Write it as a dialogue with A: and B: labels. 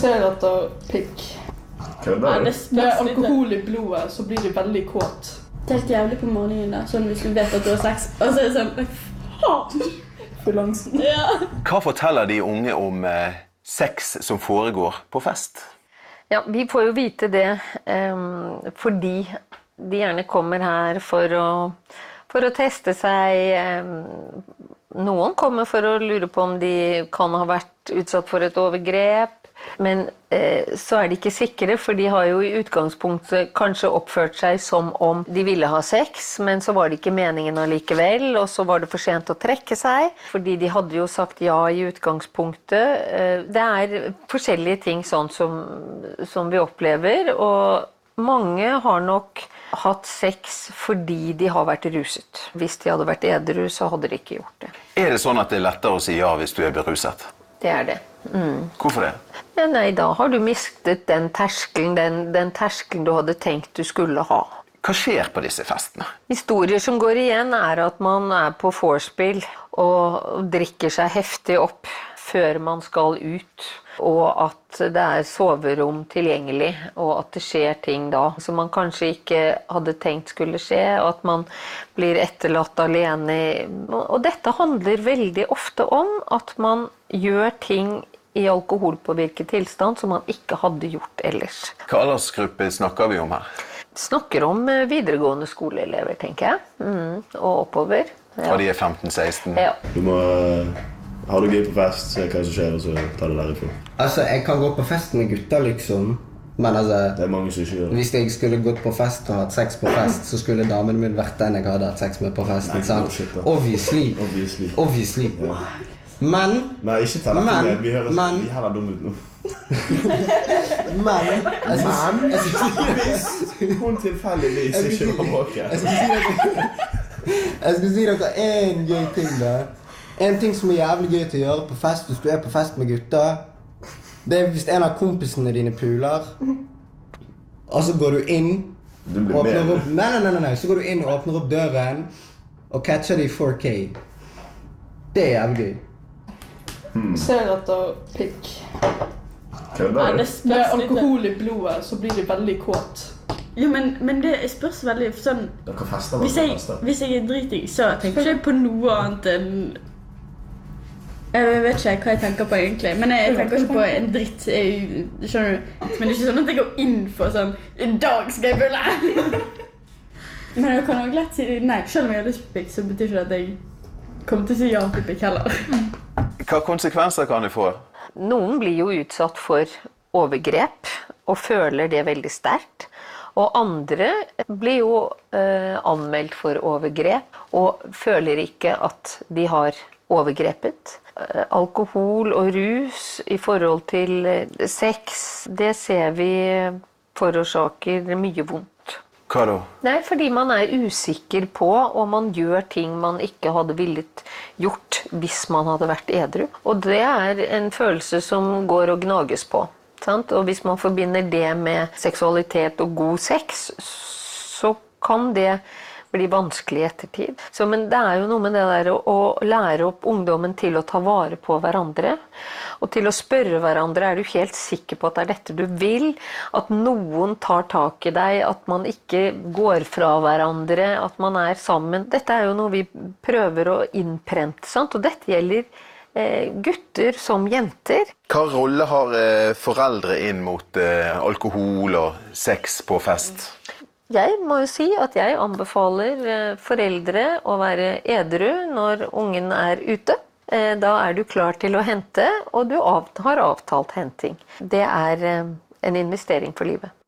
A: Senatterpikk.
B: Kødder du?
A: Med alkohol i blodet så blir du veldig kåt.
C: Det er helt jævlig på morgenen da, sånn hvis du vet at du har sex. Og så er det sånn «Hva Faen!
A: Fulansen.
C: Ja.
D: Hva forteller de unge om eh, sex som foregår på fest?
E: Ja, vi får jo vite det em, fordi de gjerne kommer her for å, for å teste seg. eh, em, noen kommer for å lure på om de kan ha vært utsatt for et overgrep. Men eh, så er de ikke sikre, for de har jo i utgangspunktet kanskje oppført seg som om de ville ha sex, men så var det ikke meningen allikevel, og så var det for sent å trekke seg. Fordi de hadde jo sagt ja i utgangspunktet. Eh, det er forskjellige ting sånn som, som vi opplever, og mange har nok hatt sex fordi de har vært ruset. Hvis de hadde vært edru, så hadde de ikke gjort det.
D: Er det sånn at det er lettere å si ja hvis du er beruset?
E: Det er det.
D: Hvorfor det?
E: Ja, nei, da har du mistet den terskelen, den, den terskelen du hadde tenkt du skulle ha.
D: Hva skjer på disse festene?
E: Historier som går igjen, er at man er på vorspiel og drikker seg heftig opp før man skal ut. Og at det er soverom tilgjengelig, og at det skjer ting da som man kanskje ikke hadde tenkt skulle skje. Og at man blir etterlatt alene. Og dette handler veldig ofte om at man gjør ting i alkoholpåvirket tilstand som man ikke hadde gjort ellers.
D: Hva aldersgruppe snakker vi om her?
E: Snakker om eh, videregående skoleelever, tenker jeg. Mm, og oppover.
D: Fra
E: Ja.
D: de er 15-16?
E: Ja.
B: Du må eh, ha det gøy på fest, se hva som skjer, og så ta det derifra.
F: Altså, jeg kan gå på fest med gutter, liksom. Men altså,
B: Det er mange som ikke gjør det.
F: hvis jeg skulle gått på fest og hatt sex på fest, så skulle damen min vært den jeg hadde hatt sex med på festen.
B: Nei, no
F: sant?
B: shit, da.
F: Obviously.
B: Obviously.
F: Obviously. Men
B: Nei, ikke ta dette
F: Men-
B: med. Vi høres
F: men-
B: vi heller dumme ut nå.
F: Men jeg skal, jeg skal,
B: Hun tilfeldigvis ikke var
F: jeg
B: våken.
F: skal si dere Jeg skal si dere én gøy ting, da. En ting som er jævlig gøy til å gjøre på fest hvis du er på fest med gutter, det er hvis en av kompisene dine puler, og så går du inn
B: Du blir
F: åpner
B: med.
F: opp, nei, nei, nei, nei, nei, Så går du inn og åpner opp døren og catcher det i 4K. Det er jævlig gøy.
A: Senatterpikk.
B: Kødder du?
A: Med alkohol i blodet så blir du veldig kåt.
C: Jo, men, men det spørs veldig for sånn
B: Dere fester
C: Hvis
B: dere
C: jeg,
B: fester.
C: hvis jeg er driting, så tenker ikke jeg på noe annet enn jeg vet ikke hva jeg tenker på egentlig, men jeg tenker ikke på en dritt. Jeg, skjønner du? Men det er ikke sånn at jeg går inn for sånn I dag skal jeg bulle! men jeg kan også lett si nei. Selv om jeg har lyst på pikk, så betyr ikke det at jeg kommer til å si ja til pikk heller.
D: Hva konsekvenser kan det få?
E: Noen blir jo utsatt for overgrep og føler det veldig sterkt. Og andre blir jo eh, anmeldt for overgrep og føler ikke at de har overgrepet. Eh, alkohol og rus i forhold til eh, sex, det ser vi forårsaker mye vondt.
D: Hva da?
E: Nei, fordi man er usikker på og man gjør ting man ikke hadde villet gjort hvis man hadde vært edru. Og det er en følelse som går og gnages på. Sant? Og hvis man forbinder det med seksualitet og god sex, så kan det bli vanskelig i ettertid. Så, men det er jo noe med det der å, å lære opp ungdommen til å ta vare på hverandre. Og til å spørre hverandre er du helt sikker på at det er dette du vil. At noen tar tak i deg, at man ikke går fra hverandre, at man er sammen. Dette er jo noe vi prøver å innprente. Sant? Og dette gjelder eh, gutter som jenter.
D: Hva rolle har eh, foreldre inn mot eh, alkohol og sex på fest?
E: Jeg må jo si at jeg anbefaler eh, foreldre å være edru når ungen er ute. Eh, Da er du klar til å hente, og du av- har avtalt henting. Det er eh, en investering for livet.